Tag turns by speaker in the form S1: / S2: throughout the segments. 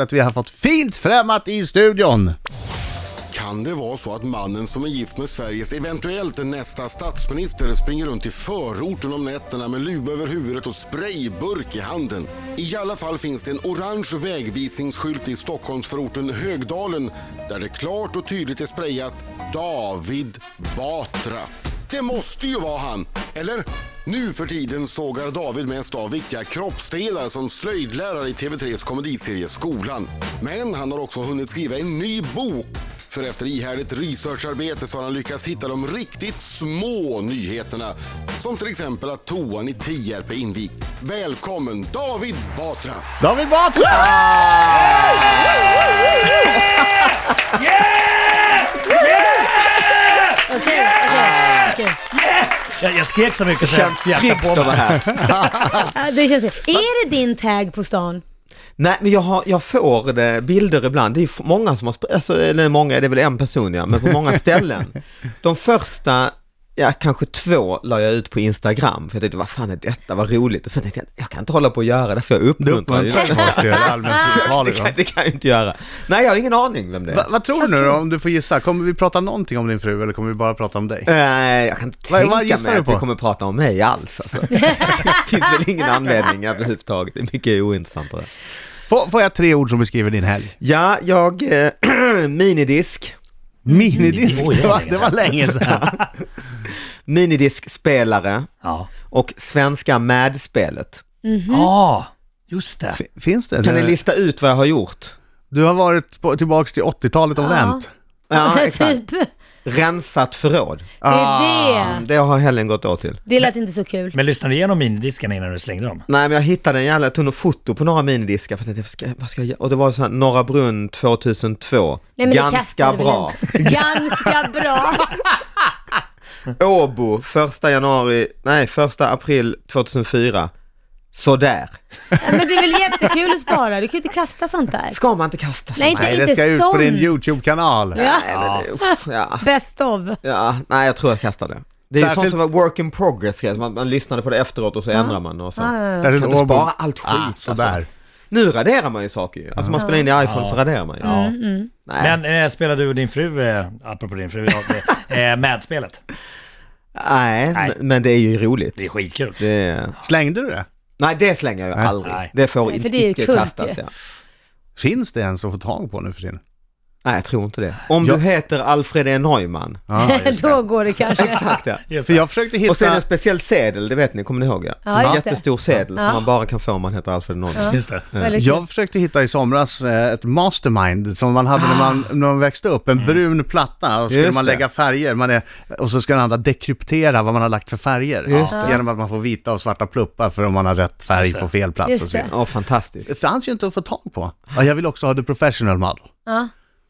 S1: att vi har fått fint främmat i studion.
S2: Kan det vara så att mannen som är gift med Sveriges eventuellt nästa statsminister springer runt i förorten om nätterna med luva över huvudet och sprayburk i handen? I alla fall finns det en orange vägvisningsskylt i Stockholmsförorten Högdalen där det klart och tydligt är sprayat David Batra. Det måste ju vara han, eller? Nu för tiden sågar David mest av viktiga kroppsdelar som slöjdlärare i TV3s komediserie Skolan. Men han har också hunnit skriva en ny bok för efter ihärdigt researcharbete så har han lyckats hitta de riktigt små nyheterna. Som till exempel att toan i Tierp är invigd. Välkommen David Batra!
S1: David Batra!
S3: Okej, okej, okej.
S4: Jag, jag skrek så mycket så
S5: Känns
S4: jag fjärtade
S5: tryggt
S4: på
S5: att vara
S4: mig.
S5: här.
S3: Ja, Det känns Är det din tag på stan?
S5: Nej, men jag, har, jag får det, bilder ibland. Det är f- många som har, sp- alltså, eller många, det är väl en person ja, men på många ställen. De första, ja kanske två, la jag ut på Instagram. För jag tänkte, vad fan är detta, vad roligt. Och sen tänkte jag, jag kan inte hålla på och göra det, för jag
S1: Du
S5: uppmuntrar ju.
S1: uppmuntrar folk till allmänt
S5: Det
S1: samtal
S5: kan, det kan jag inte göra. Nej, jag har ingen aning vem det är.
S1: Va, Vad tror du nu då, om du får gissa? Kommer vi prata någonting om din fru eller kommer vi bara prata om dig?
S5: Nej, Eh, jag kan inte
S1: Vad-
S5: tänka
S1: vad gissar
S5: mig
S1: du
S5: att
S1: på?
S5: vi kommer prata om mig alls alltså. Det finns väl ingen anledning överhuvudtaget, det är mycket ointressant tror jag.
S1: Får, får jag tre ord som beskriver din helg?
S5: Ja, jag, eh, minidisk,
S1: Minidisk,
S4: Oj,
S1: det
S4: det
S1: var,
S4: var
S1: det var länge sedan.
S5: minidiskspelare
S4: Ja.
S5: och svenska Mad-spelet.
S3: Mhm.
S4: Ja, just det.
S1: F- Finns det?
S5: Kan ni lista ut vad jag har gjort?
S1: Du har varit på, tillbaks till 80-talet och
S3: Ja.
S1: vänt.
S5: Ja, exakt.
S3: typ. Det
S5: Rensat förråd.
S3: är
S1: Ah.
S3: det.
S5: Det har helgen gått åt till.
S3: Det lät inte så kul.
S4: Men lyssnade du igenom minidiskarna innan du slängde dem?
S5: Nej, men jag hittade en jävla, jag tog något foto på några minidiskar för att jag tänkte, vad ska- vad ska jag göra? Och det var så här, Norra Brunn 2002.
S3: Nej, men det
S5: Ganska
S3: kastar du väl
S5: bra.
S3: inte. Ganska bra.
S5: Åbo, första januari, nej, första april 2004. Sådär.
S3: Men det är väl jättekul att spara? Du kan ju inte kasta sånt där.
S5: Ska man inte kasta sig?
S3: Nej, inte,
S1: Nej,
S3: inte
S1: det ska ut på
S3: sånt.
S1: din YouTube-kanal.
S3: Ja,
S5: Ja. Ja.
S3: best of.
S5: ja, nej, jag tror jag kastar det. Det är ju sånt
S1: Särskilt-
S5: som var work in progress, grejer. man, man lyssnade på det efteråt och så ändrar man och så.
S1: Där är
S5: Kan
S1: Åbo.
S5: du spara allt skit?
S1: Ah,
S5: alltså.
S1: sådär.
S5: Nu raderar man ju saker ju. Alltså man spelar in i iPhone så raderar man ju.
S4: Ja.
S5: Nej.
S4: Men eh, spelar du och din fru, eh, apropå din fru, eh, eh, mätspelet?
S5: Nej,
S4: Nej.
S5: men- men det är ju roligt.
S4: Det är skitkul.
S5: Det...
S1: Slängde du det?
S5: Nej, det slänger jag ju aldrig.
S4: Nej.
S5: Det får
S3: Nej, för det är ju
S5: inte
S3: kult
S5: kastas.
S3: ju.
S5: Ja.
S1: Finns det ens att få tag på nu för tiden?
S5: Nej, jag tror inte det. Om
S1: Jag-
S5: du heter Alfred E. Neumann.
S3: Då går det kanske.
S5: Exakt ja.
S4: Just
S1: För
S4: det.
S1: jag försökte hitta...
S5: Och sen en speciell sedel, det vet ni, kommer ni ihåg ja?
S3: Ja,
S5: en
S3: just det.
S5: jättestor sedel
S3: Ja.
S5: som man bara kan få om man heter Alfred E. Neumann.
S4: Just det.
S3: Väldigt kul.
S1: Jag försökte hitta i somras eh, ett mastermind som man hade när, man, när man växte upp, en brun platta och skulle
S5: Mm. Just
S1: man
S5: det.
S1: lägga färger man är, och så ska den andra dekryptera vad man har lagt för färger
S5: Just
S1: Ja. genom att man får vita och svarta pluppar för om man har rätt färg på fel plats
S3: Just
S1: och så vidare.
S5: Ja, fantastiskt.
S1: Det fanns ju inte att få tag på. Ja, jag vill också ha the professional model.
S3: Ja.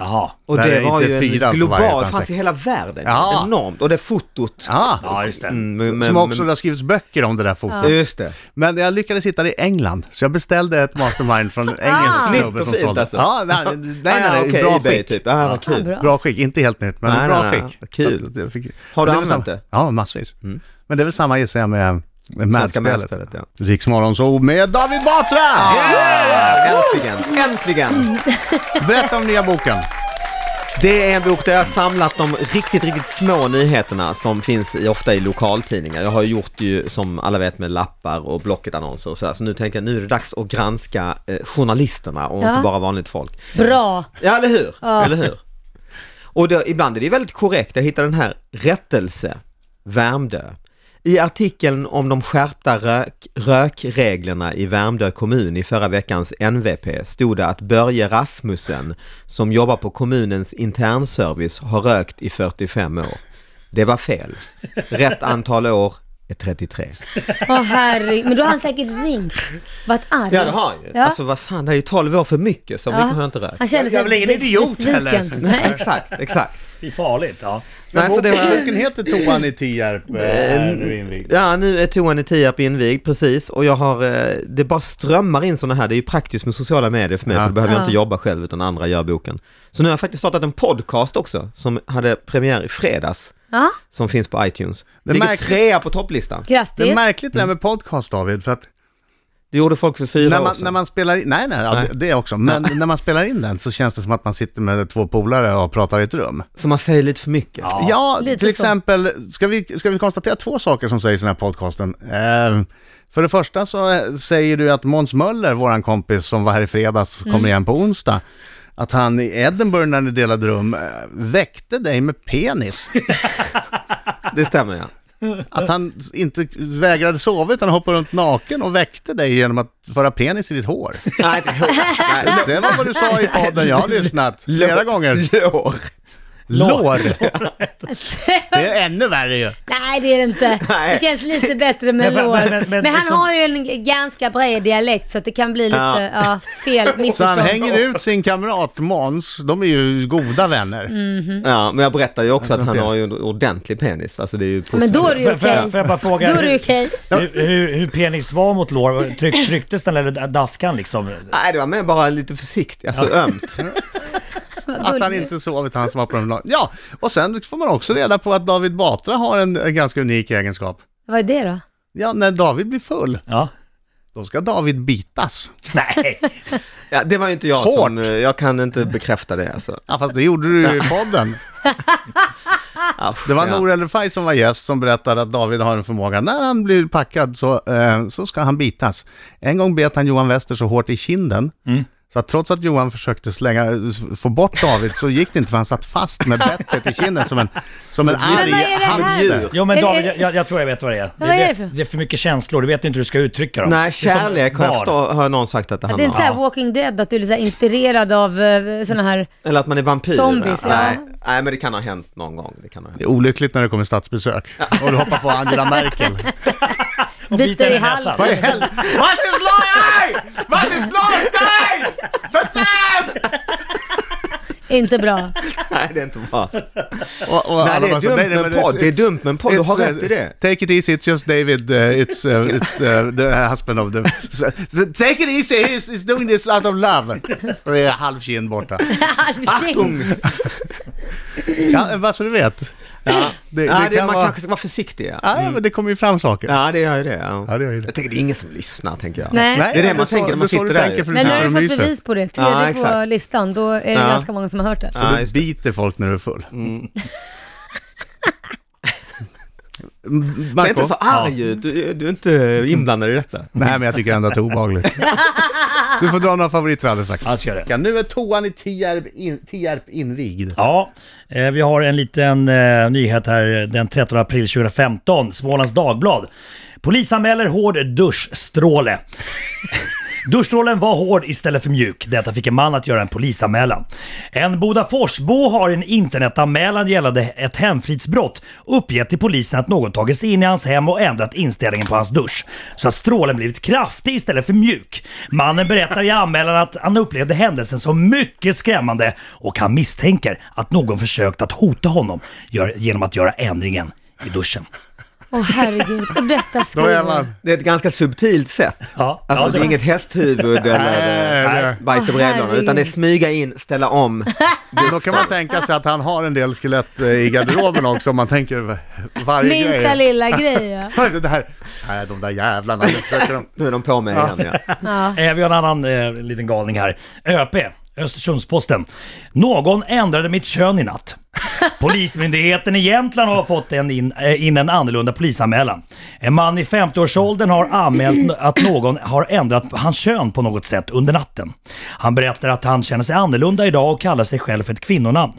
S4: Jaha.
S5: Och
S1: Där
S5: det
S1: är
S5: var
S1: inte
S5: ju
S1: fyra på
S5: en
S1: varje,
S5: global,
S1: utan
S5: det fanns
S1: sex.
S5: i hela världen.
S1: Ja.
S5: Enormt. Och det fotot.
S1: Ah,
S4: Ja, just det.
S5: Mm, men- men-
S1: som också, det
S5: men-
S1: har skrivits böcker om det där fotot.
S5: Just det.
S1: Men jag lyckades hitta det i England, så jag beställde ett mastermind från en engelsk
S3: Ah.
S1: snubbe
S5: Snyggt och
S1: som
S5: fint
S1: sålde.
S5: alltså.
S1: Ja, nej, nej, nej, nej,
S5: Ah, okej,
S1: bra
S5: eBay,
S1: skick.
S5: typ. Ah, vad
S3: Ja,
S5: kul.
S3: bra.
S1: Bra skick, inte helt nytt men
S5: Nej,
S1: bra
S5: nej, nej.
S1: skick.
S5: Vad kul.
S1: Så att jag fick-
S5: Har du
S1: Men är väl
S5: använt
S1: samma-
S5: det? Mm.
S1: Ja, massvis. Men det är väl samma gissar jag med med
S5: Svenska
S1: Madspelet.
S5: Madspelet, ja.
S1: Riksmorgonsov med David Batra!
S5: Äntligen, äntligen!
S1: Berätta om nya boken.
S5: Det är en bok där jag har samlat de riktigt, riktigt små nyheterna som finns i, ofta i lokaltidningar. Jag har ju gjort ju, som alla vet, med lappar och Blocket-annonser och sådär. Så nu tänker jag, nu är det dags att granska eh, journalisterna och
S3: Ja.
S5: inte bara vanligt folk.
S3: Bra.
S5: Ja, eller hur? Eller hur? Och då, ibland är det ju väldigt korrekt. Jag hittade den här, rättelse, Värmdö. I artikeln om de skärpta rök, rökreglerna i Värmdö kommun i förra veckans NVP stod det att Börje Rasmussen, som jobbar på kommunens internservice, har rökt i 45 år. Det var fel. Rätt antal år är 33.
S3: Åh herregud. Men då har han säkert ringt. Varit arg.
S5: Ja, det har han ju.
S3: Ja.
S5: Alltså vad fan, det är ju 12 år för mycket, så
S3: Ja.
S5: mycket har jag inte rökt.
S3: Han känner sig
S1: Jag är väl ingen
S3: bes-
S1: idiot
S3: besviken.
S1: heller.
S3: Nej.
S5: Exakt, exakt.
S4: Det är farligt. Ja.
S5: Nej, så det var- Mm.
S1: Boken heter Toan i Tierp. eh, är nu invigd.
S5: Ja, nu är toan i Tierp invigd, precis. Och jag har, eh, det bara strömmar in sådana här, det är ju praktiskt med sociala medier för mig,
S1: Ja.
S5: för då behöver
S3: Ja.
S5: jag inte jobba själv, utan andra gör boken. Så nu har jag faktiskt startat en podcast också, som hade premiär i fredags,
S3: Ja,
S5: som finns på iTunes.
S1: Det
S5: Det ligger
S1: märkligt.
S5: trea på topplistan.
S1: Det är
S3: grattis.
S1: märkligt det där med podcast David, för att
S5: Det gjorde folk för fyra
S1: När
S5: år
S1: man,
S5: sedan.
S1: när man spelar in, nej, nej,
S5: Nej.
S1: nej. det också, men när man spelar in den så känns det som att man sitter med två polare och pratar i ett rum.
S5: Så man säger lite för mycket.
S4: Ja.
S1: Ja,
S3: lite
S1: till
S3: så.
S1: exempel, ska vi, ska vi konstatera två saker som sägs i den här podcasten? Eh, för det första så eh, säger du att Måns Möller, våran kompis som var här i fredags,
S3: Mm.
S1: kommer igen på onsdag, att han i Edinburgh när ni delade rum eh, väckte dig med penis.
S5: Det stämmer ja.
S1: Att han s- inte vägrade sova utan hoppade runt naken och väckte dig genom att föra penis i ditt hår.
S5: Nej, det är
S1: Just Det var vad du sa i podden, jag har lyssnat flera gånger.
S5: Lår.
S1: Lår! Det är ännu värre ju.
S3: Nej det är det inte.
S5: Nej.
S3: Det känns lite bättre
S4: Men-
S3: med
S4: men-
S3: lår. Men,
S4: men- men
S3: han
S4: liksom-
S3: har ju en g- ganska bred dialekt så att det kan bli lite
S5: Ja.
S3: ja. fel
S1: Så han
S3: missförstånd.
S1: hänger ut sin kamrat Måns, de är ju goda vänner.
S3: Mm.
S5: Ja, men jag berättade ju också att han
S1: penis.
S5: har ju en ordentlig penis. Alltså det är ju
S3: Men
S5: positivt.
S3: då är det ju
S4: Får- får jag-
S3: okej.
S4: får jag bara fråga-
S3: Då är det ju okej.
S4: Hur, hur, hur penis var mot lår? Tryck, trycktes den eller daskan liksom?
S5: Nej, det var mer bara lite försiktigt, alltså ömt.
S1: Att han inte sovit, han som var på den lagen. Ja, och sen får man också reda på att David Batra har en, en ganska unik egenskap.
S3: Vad är det då?
S1: Ja, när David blir full,
S4: Ja.
S1: då ska David bitas.
S4: Nej.
S5: Ja, det var ju inte jag
S1: Hårt.
S5: som, eh, jag kan inte bekräfta det alltså.
S1: Ja, fast det gjorde du ju i podden.
S5: Asch,
S1: Det var
S5: ja.
S1: Nour El Refai som var gäst som berättade att David har en förmåga, när han blir packad så, eh, så ska han bitas. En gång bet han Johan Wester så hårt i kinden,
S3: Mm.
S1: så att trots att Johan försökte slänga, få bort David så gick det inte för han satt fast med bettet i kinden som en, som en arg
S3: vad är det här?
S1: hamster.
S4: Jo men
S3: Är det-
S4: David, jag, jag tror jag vet vad det är.
S3: Vad är det för-
S4: det, det är för mycket känslor, du vet inte hur du ska uttrycka dem.
S5: Nej,
S4: Det är som
S5: kärlek har, jag
S4: barn.
S5: förstå, har någon sagt att det
S3: Att det är
S5: handlar
S3: inte
S5: om.
S3: såhär Walking Dead, att du är så här inspirerad av eh, såna här...
S5: Eller att man är vampyr.
S3: Zombies, ja.
S5: Nej, nej, men det kan ha hänt någon gång. Det kan ha hänt.
S1: Det är olyckligt när det kommer statsbesök och du hoppar på Angela Merkel.
S4: Och
S3: biter
S4: biten
S3: i
S4: näsan.
S3: halsen.
S1: Vad i helvete? Varför slår jag dig? Varför slår jag dig? För fan!
S3: Inte bra.
S5: Nej, det är inte bra.
S1: Och, och
S5: Nej,
S1: alla
S5: det är
S1: bara så,
S5: dumt
S1: nej, nej,
S5: med
S1: men
S5: en podd.
S1: it's-
S5: Det är
S1: it's-
S5: dumt med en podd. Du
S1: it's,
S5: har
S1: uh,
S5: rätt i det.
S1: Take it easy, it's just David, uh, it's, uh, it's uh, the husband of the... Take it easy, he's, he's doing this out of love. Och det är halv kind borta.
S5: Achtung!
S1: Ja, bara så du vet.
S5: Ja.
S1: Det-
S5: ja,
S1: det
S5: det,
S1: kan
S5: man
S1: vara-
S5: kanske ska vara försiktig. Ja.
S1: Ja, men det kommer ju fram saker.
S5: Ja, det gör ju det. Ja.
S1: Ja, det gör ju det.
S5: Jag tänker det är ingen som lyssnar, tänker jag.
S3: Nej.
S5: det är det man
S1: så-
S5: tänker när man
S1: så du
S5: sitter där.
S1: tänker, för du
S3: Men nu har
S1: sitter
S3: du
S1: och
S3: fått
S1: myser.
S3: bevis på det. Tredje
S5: Ja,
S3: på
S5: exakt.
S3: listan, då är det
S5: Ja.
S3: ganska många som har hört det.
S5: Ja.
S1: Så
S5: just
S1: du biter folk när du är full. Mm.
S5: Ser inte så arg ut. Du, du är inte inblandad i detta.
S1: Nej, men jag tycker ändå att det är obehagligt. Du får dra några favoriter alldeles strax.
S4: Ja, jag ska göra det.
S1: Nu är toan i Tierp, in, Tierp invigd.
S4: Ja, eh, vi har en liten eh, nyhet här eh, den 13 april 2015. Smålands Dagblad. Polisanmäler hård duschstråle. Duschstrålen var hård istället för mjuk. Detta fick en man att göra en polisanmälan. En Bodaforsbo har i en internetanmälan gällande ett hemfridsbrott uppgett till polisen att någon tagit sig in i hans hem och ändrat inställningen på hans dusch så att strålen blivit kraftig istället för mjuk. Mannen berättar i anmälan att han upplevde händelsen som mycket skrämmande och han misstänker att någon försökt att hota honom gör- genom att göra ändringen i duschen.
S3: Åh herregud, och detta
S1: Då är
S3: skriver...
S1: man...
S5: Det är ett ganska subtilt sätt.
S4: Ja,
S5: Alltså
S4: ja,
S5: det är
S4: det-
S5: inget hästhuvud eller
S1: Nej, det-
S5: eh, bajs i
S3: Åh,
S5: brädlorna,
S3: herregud.
S5: utan det är smyga in, ställa om.
S1: Då kan man tänka sig att han har en del skelett eh, i garderoben också, om man tänker v- varje
S3: Minsta
S1: grej.
S3: lilla grej ja.
S1: Minsta Det här, här, de där jävlarna, nu försöker de...
S5: Nu är de på mig igen. Ja.
S4: Eh, vi har en annan eh, liten galning här. ÖP, Östersundsposten. Någon ändrade mitt kön i natt. Polismyndigheten i Jämtland har fått en in, eh, in en annorlunda polisanmälan. En man i 50-årsåldern har anmält att någon har ändrat hans kön på något sätt under natten. Han berättar att han känner sig annorlunda idag och kallar sig själv för ett kvinnonamn.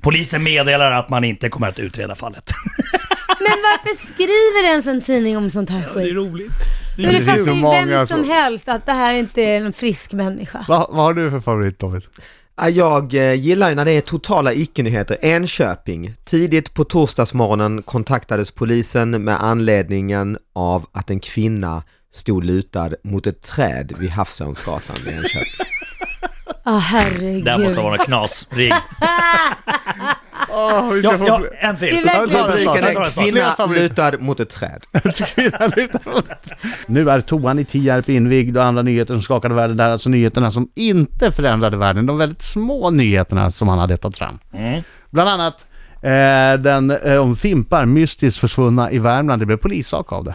S4: Polisen meddelar att man inte kommer att utreda fallet.
S3: Men varför skriver ens en tidning om sånt här skit?
S4: roligt.
S3: Men
S1: Det
S3: det
S1: finns
S3: fattar
S1: så
S3: ju
S1: många
S3: vem som
S1: så.
S3: helst att det här inte är en frisk människa.
S1: Vad, vad har du för favorit, David?
S5: Ja, Jag eh, gillar ju när det är totala icke-nyheter. Enköping. Tidigt på torsdagsmorgonen kontaktades polisen med anledningen av att en kvinna stod lutad mot ett träd vid Havsörnsgatan i Enköping.
S3: Ja
S4: Där
S3: herregud.
S4: måste vara något knas. Ring.
S1: Åh, vi
S4: Ja,
S1: ska
S4: ja,
S1: få...
S4: en till.
S3: Det är verkligen-
S1: Ta det snart,
S5: Rubriken
S1: ta
S5: är
S1: det snart. Fler
S5: kvinna
S1: favoriter.
S5: lutad mot ett träd.
S1: Kvinnan lutar mot- Nu är toan i Tierp invigd och andra nyheter som skakade världen där, alltså nyheterna som inte förändrade världen, de väldigt små nyheterna som han har letat fram.
S5: Mm.
S1: Bland annat eh, den eh, om fimpar mystiskt försvunna i Värmland, det blev polissak av det.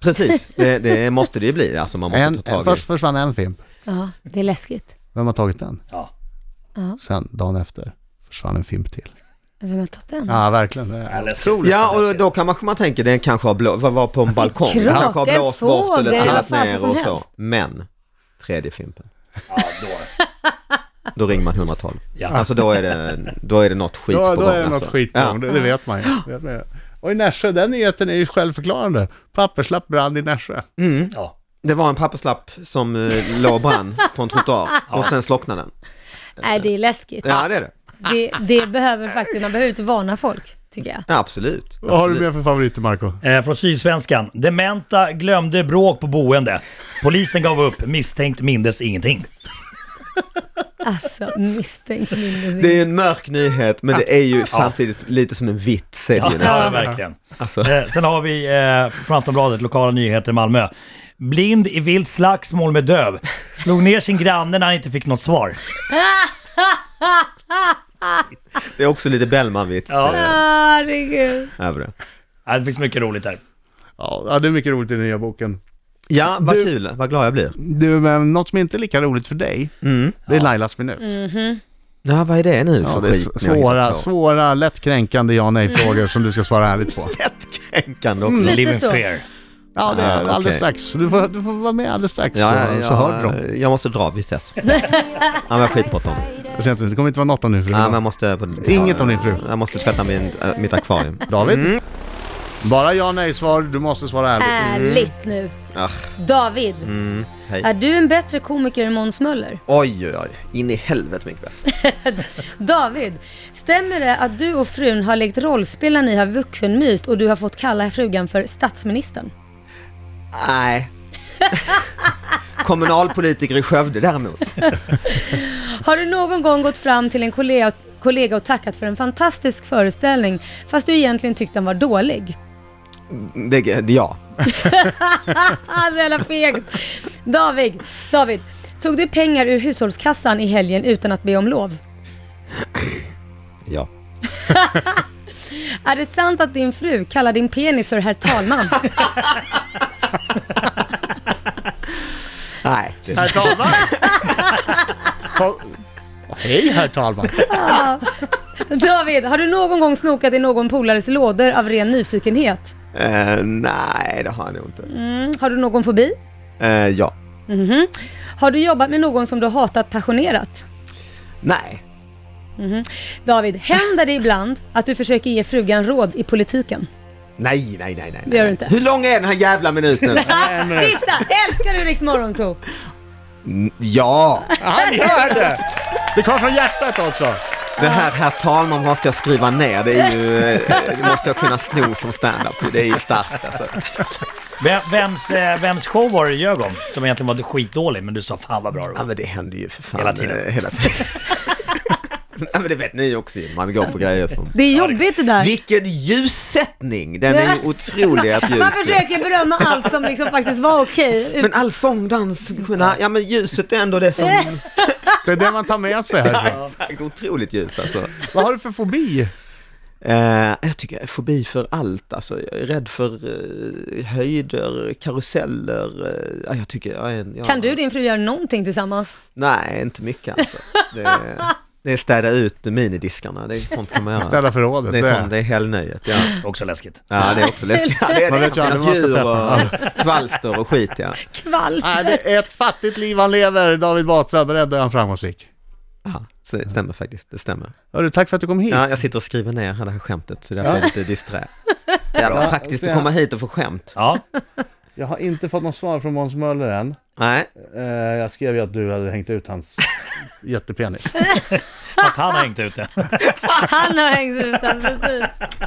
S5: Precis, det, det måste det ju bli. Alltså man måste
S1: En,
S5: ta tag i.
S1: först försvann en fimp.
S3: Ja, det är läskigt.
S1: Vem har tagit den?
S4: Ja.
S1: Sen, dagen efter, försvann en fimp till.
S3: Vem har tagit den?
S1: Ja, verkligen. Det
S4: Ja,
S1: är-
S4: läskigt.
S5: Ja, och då kan man, man tänka den kanske har blå, var var på en balkong, den kanske har
S3: krak, en
S5: blåst bort eller
S3: fågel,
S5: trillat
S3: vad fasen
S5: ner
S3: som
S5: och så.
S3: helst.
S5: Men, tredje fimpen,
S4: Ja, då.
S5: då ringer man 112.
S4: Ja.
S5: Alltså då är det, då är det något skit
S1: Då,
S5: på
S1: då
S5: gång
S1: är det något
S5: alltså.
S1: skit på
S5: ja.
S1: gång, det, det vet man ju. Det vet man ju. Och i Nässjö, den nyheten är ju självförklarande. Papperslapp brann i Nässjö.
S4: Ja.
S5: Det var en papperslapp som eh, låg och brann på en trottoar och sen slocknade den.
S3: Nej, det är läskigt.
S5: Ja, det är det.
S3: Det, det behöver faktiskt, man behöver inte varna folk, tycker jag.
S5: Ja, absolut.
S1: Vad har du
S5: absolut.
S1: mer för favoriter, Marco?
S4: Eh, från Sydsvenskan. Dementa glömde bråk på boende. Polisen gav upp. Misstänkt mindes ingenting.
S3: Alltså, misstänk mindre.
S5: Det är en mörk nyhet, men det är ju samtidigt lite som en vits. Är det
S4: Ja,
S5: ju nästan.
S4: ja verkligen.
S5: Alltså,
S4: Eh, sen har vi eh, från Aftonbladet, lokala nyheter i Malmö. Blind i vilt slagsmål med döv. Slog ner sin granne när han inte fick något svar.
S5: det är också lite Bellman-vits
S4: Ja.
S5: eh,
S3: Herregud.
S5: över det.
S4: Ja, det finns mycket roligt där.
S1: Ja, ja, det är mycket roligt i den nya boken.
S5: Ja, vad
S1: Du-
S5: kul, vad glad jag blir.
S1: Du, men något som inte är lika roligt för dig,
S5: Mm.
S1: det är Lailas minut.
S5: Ja, vad är det nu
S1: Ja,
S5: för
S1: det är
S5: skit
S1: sv-
S5: ni har
S1: svåra,
S5: hittat på?
S1: svåra, lätt kränkande ja nej-frågor som du ska svara ärligt på.
S5: Lättkränkande också.
S1: Mm.
S3: Lite
S4: Live in
S3: så.
S4: fear.
S1: Ja, det är
S5: Ah, okej.
S1: alldeles strax. Du får, du får vara med alldeles strax så, så hör du dem.
S5: Jag måste dra, vi ses. ja, men skit på dem.
S1: Jag känner inte- Det kommer inte vara något om din fru.
S5: Ja, men jag måste...
S1: Inget om din fru.
S5: Jag måste tvätta min, äh, mitt akvarium.
S1: David?
S5: Mm.
S1: Bara ja nej-svar, du måste svara
S3: Äh.
S1: ärligt.
S3: Ärligt nu.
S5: Ach,
S3: David,
S5: Mm. Ah. hej.
S3: är du en bättre komiker än Måns Möller?
S5: Oj, oj, oj. In i helvete mycket bättre.
S3: David, stämmer det att du och frun har lekt rollspel när ni har vuxenmyst och du har fått kalla frugan för statsministern?
S5: Nej. Kommunalpolitiker i Skövde däremot.
S3: Har du någon gång gått fram till en kollega, kollega och tackat för en fantastisk föreställning fast du egentligen tyckte den var dålig?
S5: Det, det är jag.
S3: Ah, så jävla fegt! David, David, tog du pengar ur hushållskassan i helgen utan att be om lov?
S5: Ja.
S3: Är det sant att din fru kallar din penis för herr talman?
S5: Nej. Det,
S1: Herr talman! Ko- Hej herr talman!
S3: David, har du någon gång snokat i någon polares lådor av ren nyfikenhet?
S5: eh, nej, det har jag nog inte.
S3: Mm, har du någon fobi?
S5: Eh, ja.
S3: Har du jobbat med någon som du hatat passionerat?
S5: Nej.
S3: David, händer det ibland att du försöker ge frugan råd i politiken?
S5: Nej, nej, nej, nej.
S3: Det gör du inte.
S5: Hur lång är den här jävla minuten?
S3: Ah, Sista! Älskar du Rix Morgonzoo?
S5: ja.
S1: Han gör det! Det kom från hjärtat också!
S5: Det här, herr talman, måste jag skriva ner. Det är ju, eh, det måste jag kunna sno som stand-up. Det är ju starkt alltså.
S4: Vem, vems, eh, vems show var det i Ljögon? Som egentligen var skitdålig, men du sa fan vad bra det
S5: Ja,
S4: var.
S5: men det händer ju för fan.
S4: Hela tiden.
S5: eh, Hela tiden. ja, men det vet ni också ju. Man går på grejer som...
S3: Det är jobbigt det där.
S5: Vilken ljussättning! Den är ju otrolig att
S3: Man
S5: ljuset...
S3: försöker berömma allt som liksom faktiskt var okej.
S5: Men all sång, dans, kunna, ja men ljuset är ändå det som...
S1: Det är det man tar med sig här.
S5: Exakt, otroligt ljus alltså.
S1: Vad har du för fobi?
S5: Eh, jag tycker jag är fobi för allt alltså. Jag är rädd för eh, höjder, karuseller. eh, ja, jag tycker jag är en... Jag,
S3: Kan du och din fru göra någonting tillsammans?
S5: Nej, inte mycket alltså. Det är, det är städa ut minidiskarna, det är sånt kan man göra.
S1: Ställa förrådet.
S5: det är
S1: det.
S5: sånt, det är helnöjet. Ja.
S4: Också läskigt.
S5: ja, det är också läskigt. Ja, det är
S1: Man
S5: det.
S1: vet ju aldrig
S5: Finnas
S1: vad man ska
S5: djur
S1: träffa.
S5: och kvalster och skit ja.
S3: Kvalls!
S1: Nej, det är ett fattigt liv han lever, David Batra. Beredd är han framgångsrik.
S5: ja. Så det stämmer faktiskt, det stämmer.
S1: Hörru, tack för att du kom hit.
S5: Ja, jag sitter och skriver ner det här skämtet, så därför är jag lite disträ. Jävla praktiskt att komma hit och få skämt.
S4: Ja,
S1: Jag har inte fått något svar från Måns Möller än.
S5: Nej,
S1: Eh, jag skrev ju att du hade hängt ut hans jättepenis.
S4: att han har hängt ut det.
S3: Han har hängt ut den precis.